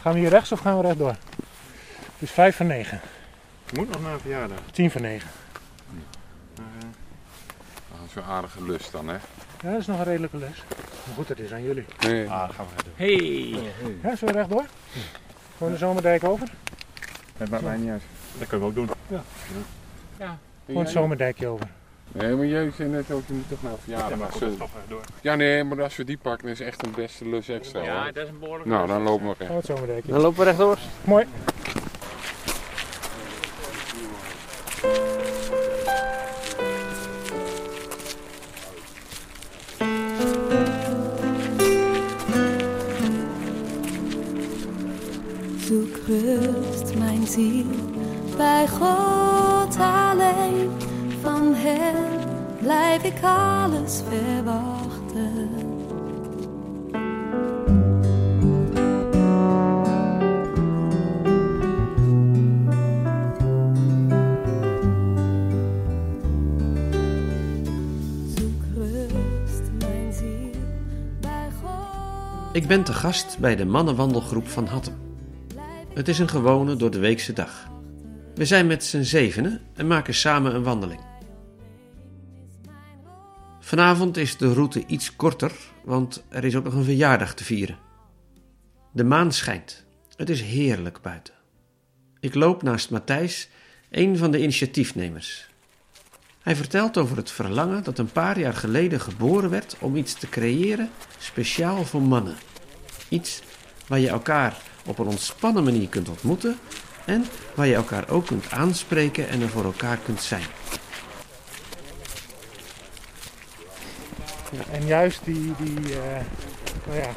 Gaan we hier rechts of gaan we rechtdoor? Het is 5 van 9. Ik moet nog naar een verjaardag. 10 van 9. Maar, eh, ah, Zo'n aardige lust dan, hè? Ja, dat is nog een redelijke les. Maar goed, dat is aan jullie. Nee. Ah, gaan we verder. Hey! Ja, zullen we rechtdoor? Gewoon de zomerdijk over? Het maakt mij niet uit. Dat kunnen we ook doen. Gewoon het zomerdijkje over. Nee, maar jij zei net ook, je moet toch eh, naar een verjaardag. maar Als goed, we- dan stappen we door. ja, nee, maar als we die pakken, is echt een beste lus extra. Ja, hoor. dat is een behoorlijk. Nou, dan lopen we echt. Gewoon het zomerdijkje. Dan lopen we rechtdoor. Mooi. Zoek rust, mijn ziel, bij God alleen. Van Hem blijf ik alles verwachten. Zoek rust, mijn ziel, bij God. Ik ben te gast bij de mannenwandelgroep van Hattem. Het is een gewone door de weekse dag. We zijn met z'n zevenen en maken samen een wandeling. Vanavond is de route iets korter, want er is ook nog een verjaardag te vieren. De maan schijnt. Het is heerlijk buiten. Ik loop naast Matthijs, een van de initiatiefnemers. Hij vertelt over het verlangen dat een paar jaar geleden geboren werd om iets te creëren speciaal voor mannen. Iets waar je elkaar op een ontspannen manier kunt ontmoeten en waar je elkaar ook kunt aanspreken en er voor elkaar kunt zijn. En juist die, die eh, nou ja,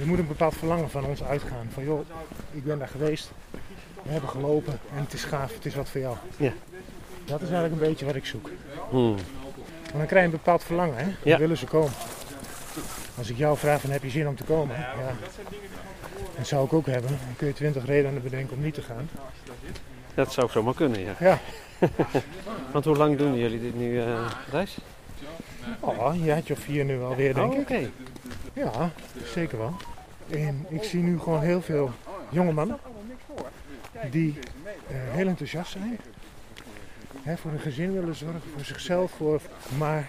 er moet een bepaald verlangen van ons uitgaan. Van joh, ik ben daar geweest, we hebben gelopen en het is gaaf, het is wat voor jou. Ja. Hmm. Dat is eigenlijk een beetje wat ik zoek. Want dan krijg je een bepaald verlangen, hè? Dan Ja. willen ze komen. Als ik jou vraag van heb je zin om te komen? Ja. Dat zou ik ook hebben. Dan kun je twintig redenen bedenken om niet te gaan. Dat zou zomaar kunnen, ja. Ja. Want hoe lang doen jullie dit nu, eh Thijs? Oh, je had je vier nu alweer, denk Oh, ik. oké. Ja, zeker wel. En ik zie nu gewoon heel veel jonge mannen die eh, heel enthousiast zijn. Hè, voor hun gezin willen zorgen, voor zichzelf, voor, maar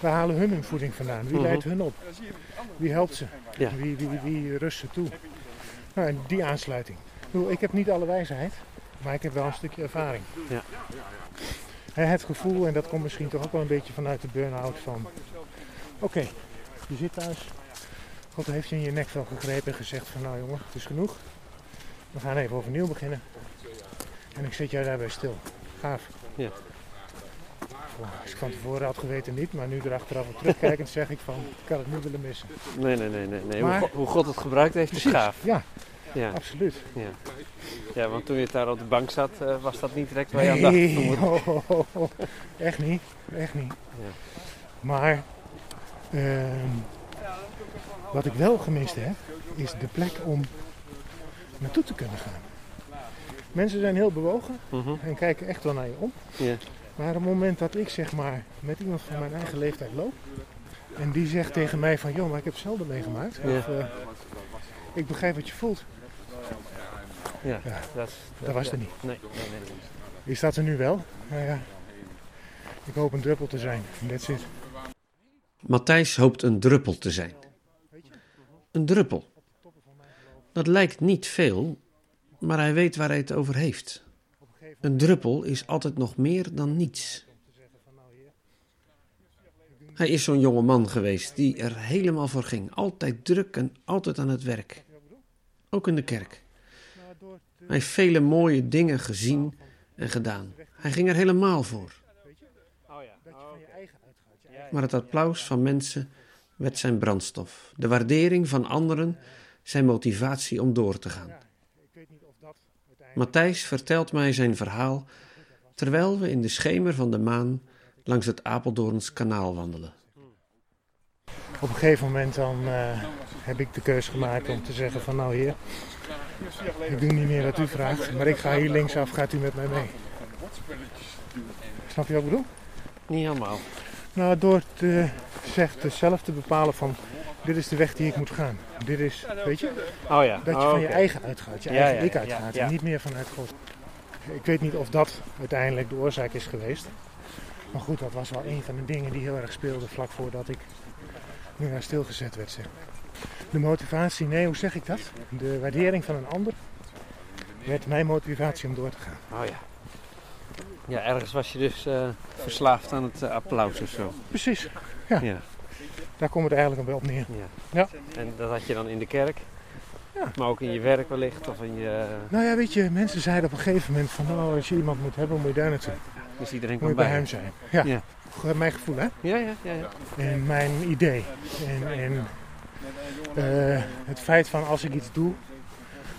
waar halen hun hun voeding vandaan? Wie Mhm. leidt hun op? Wie helpt ze? Ja. Wie, wie, wie rust ze toe? Nou, en die aansluiting. Ik, bedoel, ik heb niet alle wijsheid, maar ik heb wel een stukje ervaring. Ja. Hè, het gevoel, en dat komt misschien toch ook wel een beetje vanuit de burn-out van... Oké, je zit thuis, God heeft je in je nekvel gegrepen en gezegd van nou jongen, het is genoeg. We gaan even overnieuw beginnen. En ik zet jou daarbij stil. Gaaf. Ja. Oh, Als ik van tevoren had geweten niet, maar nu erachteraf op terugkijkend zeg ik van, ik had het niet willen missen. Nee, nee, nee, nee. nee. Maar- Hoe, go- hoe God het gebruikt heeft, is gaaf. Ja, Ja. absoluut. ja, want toen je daar op de bank zat, eh, was dat niet direct waar je aan dacht. Toen Oh. Nee, moet- ho, ho, ho, ho. echt niet, echt niet. Ja. Maar ehm, wat ik wel gemist heb, is de plek om naartoe te kunnen gaan. Mensen zijn heel bewogen Mhm. en kijken echt wel naar je om. Ja. Maar op het moment dat ik zeg maar met iemand van mijn eigen leeftijd loop en die zegt tegen mij van joh, maar ik heb hetzelfde meegemaakt. Ja. Of, eh, ik begrijp wat je voelt. Ja, Ja. dat is... Dat was er niet. Nee, nee, nee. nee. Die staat er nu wel. Nou ja, ik hoop een druppel te zijn. That's it. Matthijs hoopt een druppel te zijn. Een druppel. Dat lijkt niet veel, maar hij weet waar hij het over heeft. Een druppel is altijd nog meer dan niets. Hij is zo'n jonge man geweest die er helemaal voor ging. Altijd druk en altijd aan het werk. Ook in de kerk. Hij heeft vele mooie dingen gezien en gedaan. Hij ging er helemaal voor. Oh ja. Oh, oké. Maar het applaus van mensen werd zijn brandstof. De waardering van anderen zijn motivatie om door te gaan. Matthijs vertelt mij zijn verhaal terwijl we in de schemer van de maan langs het Apeldoorns kanaal wandelen. Op een gegeven moment dan eh, heb ik de keuze gemaakt om te zeggen van nou heer, ik doe niet meer wat u vraagt, maar ik ga hier linksaf, gaat u met mij mee. Snap je wat ik bedoel? Niet helemaal. Nou, door te, zeg, zelf te bepalen van dit is de weg die ik moet gaan. Dit is, weet je, Oh ja. dat je Oh, van je oké. eigen uitgaat, je Ja, eigen ja, ik ja, uitgaat ja. en niet meer vanuit God. Ik weet niet of dat uiteindelijk de oorzaak is geweest. Maar goed, dat was wel een van de dingen die heel erg speelde vlak voordat ik nu naar stilgezet werd. Zeg. De motivatie, nee, hoe zeg ik dat? De waardering van een ander werd mijn motivatie om door te gaan. Oh ja. Ja, ergens was je dus eh, verslaafd aan het eh, applaus of zo. Precies, Ja. daar komt het eigenlijk wel op neer. ja. Ja. En dat had je dan in de kerk. Ja. Maar ook in je werk wellicht. Of in je, Nou ja, weet je, mensen zeiden op een gegeven moment van, nou, als je iemand moet hebben, moet je daar naartoe. dus iedereen Moet kwam je bij hem zijn. Ja, Ja. mijn gevoel, hè? Ja, ja, ja, ja. en mijn idee. En, en eh, het feit van als ik iets doe,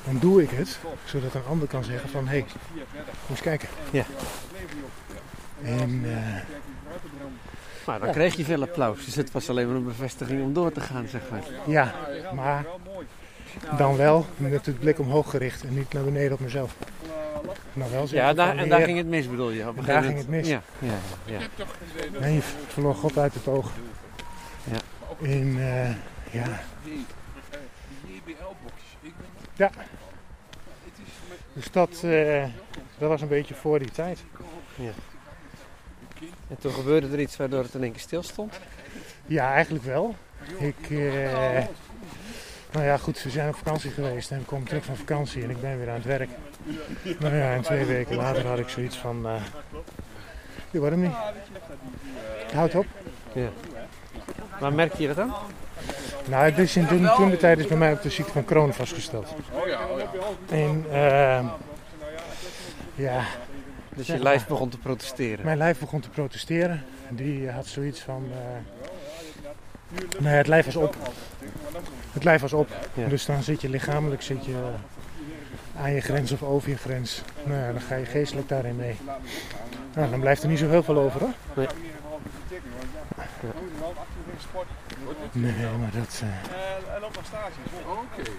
dan doe ik het. Zodat een ander kan zeggen van, hé, hey, moet eens kijken. Ja. En eh, Maar dan kreeg je veel applaus. Dus het was alleen maar een bevestiging om door te gaan, zeg maar. Dus ja, maar dan wel met het blik omhoog gericht en niet naar beneden op mezelf. Nou wel zeggen Ja, daar, van, en daar "Heer, ging het mis, bedoel je? Op een Daar gegeven ging moment- het Ja, ja, ja. ja. Nee, je verloor God uit het oog. Ja. En eh, ja. Ja. Dus dat, eh, dat was een beetje voor die tijd. En toen gebeurde er iets waardoor het in één keer stil stond. Ja, eigenlijk wel. Ik, eh, nou ja, goed, we zijn op vakantie geweest en ik kom terug van vakantie en ik ben weer aan het werk. Nou ja, en twee weken later had ik zoiets van, eh dit wordt hem niet. Houd op. Maar merkte je dat dan? Nou, het is in toen, toen de tijd is bij mij ook de ziekte van Crohn vastgesteld. En ehm, ja, Dus Zeg je maar. lijf begon te protesteren. mijn lijf begon te protesteren. Die had zoiets van, eh nou ja, het lijf was op. Het lijf was op. Ja. Dus dan zit je lichamelijk zit je aan je grens of over je grens. Nou ja, dan ga je geestelijk daarin mee. Nou, dan blijft er niet zo heel veel over hoor. Nee. Nee, maar dat... eh, Oké.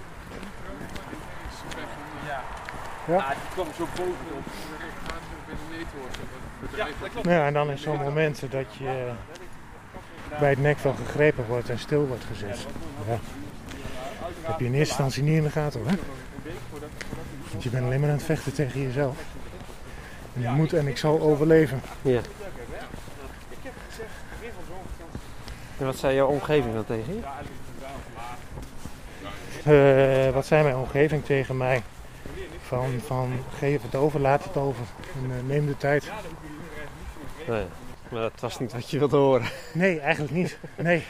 Nou ja, en dan is zo'n moment dat je bij het nek van gegrepen wordt en stil wordt gezet. Ja. Heb je in eerste instantie niet in de gaten hoor. Want je bent alleen maar aan het vechten tegen jezelf. En je moet en ik zal overleven. Ja. En wat zei jouw omgeving dan tegen je? Eh, wat zei mijn omgeving tegen mij? Van, van geef het over, laat het over. En, eh, neem de tijd. Nee. Maar dat was niet wat je wilde horen. Nee, eigenlijk niet. Nee.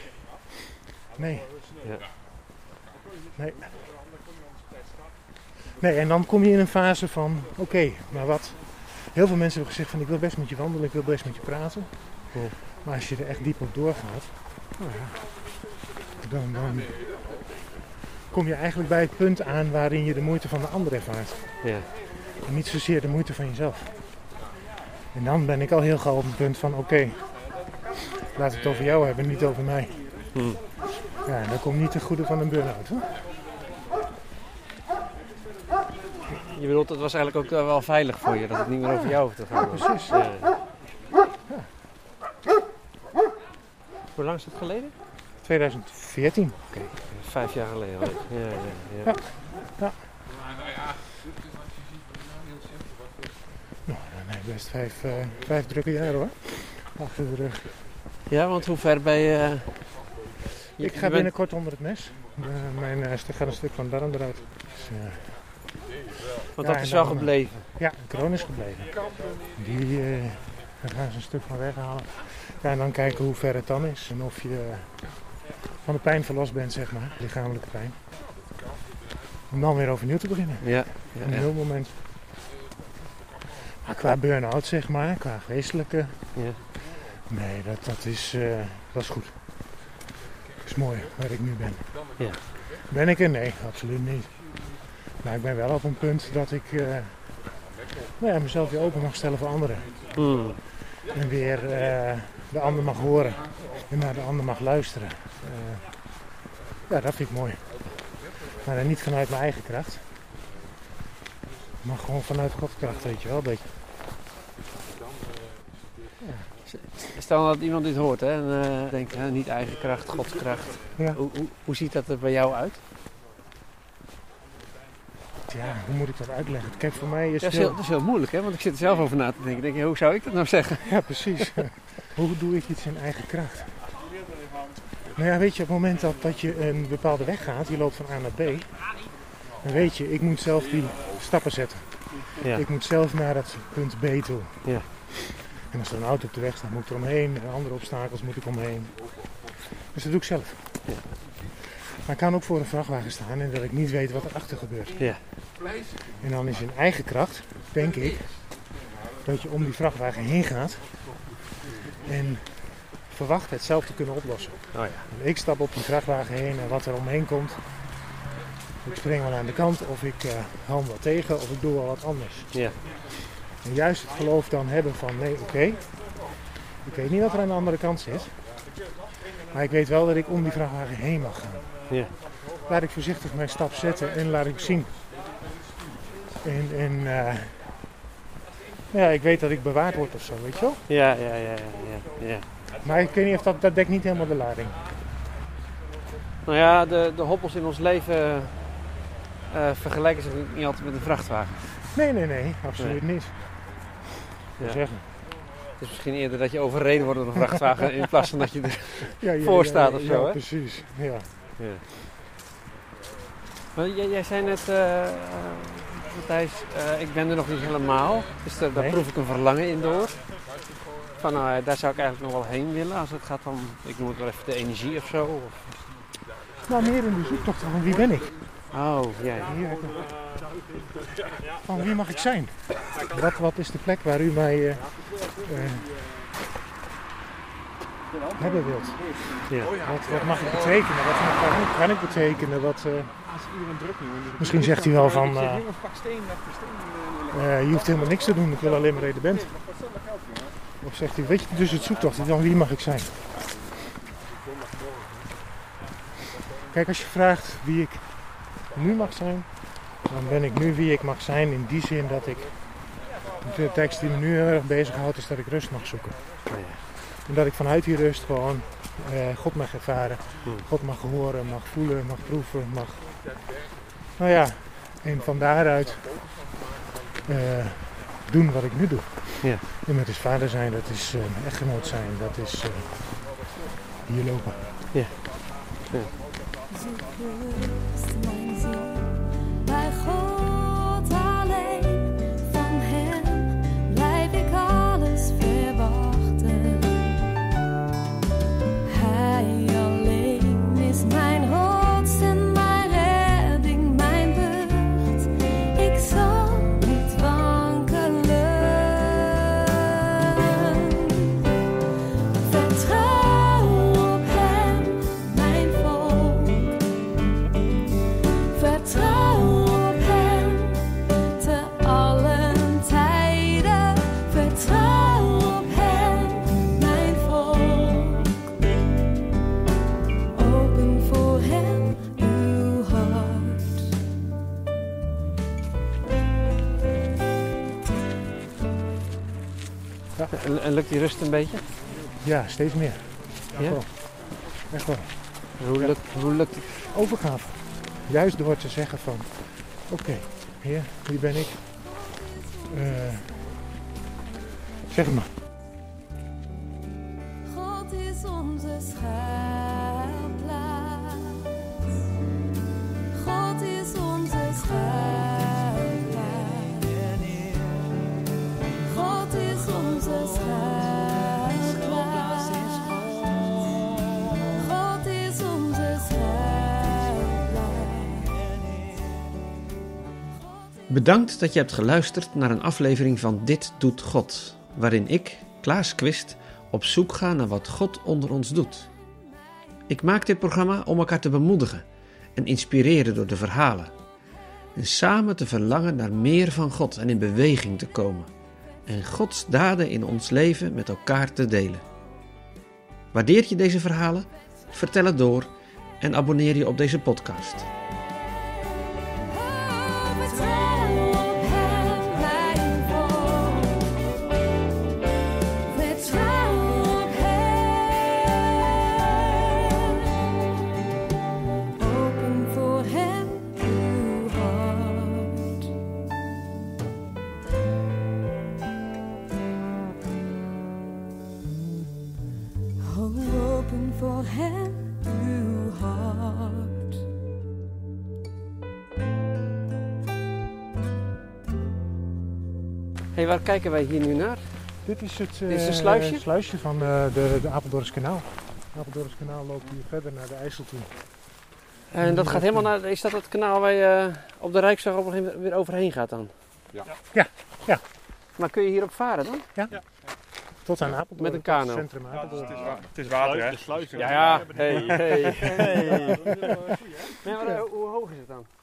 Nee. Ja. Nee. Nee, en dan kom je in een fase van, oké, maar wat? Heel veel mensen hebben gezegd van, ik wil best met je wandelen, ik wil best met je praten. Ja. Oh Maar als je er echt diep op doorgaat, nou ja, dan, dan kom je eigenlijk bij het punt aan waarin je de moeite van de ander ervaart. Ja. En niet zozeer de moeite van jezelf. En dan ben ik al heel gauw op het punt van oké, laat het over jou hebben, niet over mij. Hmm. Ja, en dat komt niet ten goede van een burn-out. Hoor. Je bedoelt, het was eigenlijk ook eh, wel veilig voor je dat het niet meer over jou hoeft te gaan. Precies. Ja. Hoe lang is dat geleden? 2014. Vijf jaar geleden. alweer. Ja, ja, ja. Ja. Nee, best vijf, eh, vijf drukke jaren hoor. Achter de rug. Ja, want hoe ver ben je... eh, je- je Ik ga bent- binnenkort onder het mes. Eh, mijn eh, st- gaat een stuk van darm eruit. Dus, eh, Want Ja, dat en is wel dan, eh, gebleven. ja, kroon is gebleven. Die eh, daar gaan ze een stuk van weghalen. Ja, en dan kijken hoe ver het dan is. En of je eh, van de pijn verlost bent, zeg maar. Lichamelijke pijn. Om dan weer overnieuw te beginnen. Ja. Een ja, ja. heel moment. Maar qua burn-out, zeg maar, qua geestelijke. Ja. Nee, dat, dat, is, eh, dat is goed. Dat is mooi waar ik nu ben. Ja. Ben ik er? Nee, absoluut niet. Maar ik ben wel op een punt dat ik eh, nou ja, mezelf weer open mag stellen voor anderen. Hmm. En weer eh, de ander mag horen. En naar de ander mag luisteren. Eh, ja, dat vind ik mooi. Maar dan niet vanuit mijn eigen kracht. Maar gewoon vanuit Gods kracht, weet je wel. Dat je- Stel nou dat iemand dit hoort hè, en eh, denkt, hè, niet eigen kracht, Gods kracht. Ja. Hoe, hoe, hoe ziet dat er bij jou uit? Ja, hoe moet ik dat uitleggen? Kijk, voor mij is Ja, dat, het is heel, dat is heel moeilijk, hè? want ik zit er zelf over na te denken. Ik Denk, hoe zou ik dat nou zeggen? Ja, precies. Hoe doe ik iets in eigen kracht? Nou ja, weet je, op het moment dat, dat je een bepaalde weg gaat, je loopt van A naar B, dan weet je, ik moet zelf die stappen zetten. Ja. Ik moet zelf naar dat punt B toe. Ja. En als er een auto op de weg staat, moet ik er omheen. En andere obstakels moet ik omheen. Dus dat doe ik zelf. Ja. Maar ik kan ook voor een vrachtwagen staan en dat ik niet weet wat erachter gebeurt. Ja. En dan is in eigen kracht, denk ik, dat je om die vrachtwagen heen gaat en verwacht het zelf te kunnen oplossen. ja. En ik stap op die vrachtwagen heen en wat er omheen komt, ik spring wel aan de kant of ik eh hou hem wel tegen of ik doe wel wat anders. Ja. En juist het geloof dan hebben van nee, oké, ik weet niet wat er aan de andere kant zit, maar ik weet wel dat ik om die vrachtwagen heen mag gaan. Ja. Laat ik voorzichtig mijn stap zetten en laat ik zien. En, en eh, ja, ik weet dat ik bewaard word of zo, weet je wel. Ja, ja, ja, ja, ja. Maar ik weet niet of dat, dat dekt niet helemaal de lading. Nou ja, de, de hobbels in ons leven eh, vergelijken zich niet altijd met een vrachtwagen. Nee, nee, nee, absoluut niet. Ja. Ja. Zeggen. Het is misschien eerder dat je overreden wordt door een vrachtwagen in plaats van dat je er... Ja, ja, Voor ja, staat ja, of zo, ja, hè? precies. Ja. Maar jij, jij zei net, eh, eh, Matthijs, eh, ik ben er nog niet helemaal. Dus daar, daar Nee. proef ik een verlangen in door. Van nou, eh, daar zou ik eigenlijk nog wel heen willen als het gaat om, ik noem het wel even de energie of zo. Of... Nou, meer in de zoektocht van wie ben ik? Oh, ja, ja. Hier heb ik hem. Van wie mag ik zijn? Wat, wat is de plek waar u mij eh, eh, hebben wilt? Ja. Wat, wat mag ik betekenen? Wat kan ik, kan ik betekenen? Wat, eh, misschien zegt hij wel van... eh, eh, je hoeft helemaal niks te doen, ik wil alleen maar reden bent. Of zegt hij, weet je, dus het zoektocht, dan wie mag ik zijn? Kijk, als je vraagt wie ik nu mag zijn, dan ben ik nu wie ik mag zijn in die zin dat ik... De tekst die me nu heel erg bezighoudt is dat ik rust mag zoeken. Oh, ja. En dat ik vanuit die rust gewoon eh, God mag ervaren. Hmm. God mag horen, mag voelen, mag proeven, mag... Nou ja, en van daaruit eh, doen wat ik nu doe. Ja. En dat is vader zijn, dat is eh, echtgenoot zijn, dat is eh, hier lopen. Zoek rust, mijn ziel, bij God alleen. Van Hem blijf ik alles verwachten. Hij alleen is mijn rots en mijn redding, mijn beurt. Ik zal niet wankelen. Vertrouw op hem, mijn volk. Vertrouw op hem, te allen tijden. Vertrouw op hem, mijn volk. Open voor hem uw hart. En, en lukt die rust een beetje? Ja, steeds meer. Echt Ja? wel. Echt wel. Dus hoe, lukt, hoe lukt het? Overgave. Juist door te zeggen van, oké, heer, hier ben ik. Eh, zeg het maar. God is onze schuilplaats. God is onze schuilplaats. God is onze schuilplaats. God is onze schuilplaats. Bedankt dat je hebt geluisterd naar een aflevering van Dit Doet God, waarin ik, Klaas Quist, op zoek ga naar wat God onder ons doet. Ik maak dit programma om elkaar te bemoedigen en inspireren door de verhalen. En samen te verlangen naar meer van God en in beweging te komen. En Gods daden in ons leven met elkaar te delen. Waardeer je deze verhalen? Vertel het door en abonneer je op deze podcast. Vertrouw op hem, mijn volk. Vertrouw uw hart. hey, waar kijken wij hier nu naar? Dit is het Dit is een eh, sluisje? van eh, de, de Apeldoorns kanaal. Het Apeldoorns kanaal loopt hier verder naar de IJssel toe. En dat gaat helemaal naar. Is dat het kanaal waar je eh, op de Rijksweg op een gegeven moment weer overheen gaat dan? Ja. Ja, ja. Maar kun je hierop varen dan? Tot aan Ja, Apeldoorn. met een nou. tot het kano. Centrum Apeldoorn. Het is water, hè? Ja, ja. Hey, hey, hey. Nee, maar, eh, hoe hoog is het dan?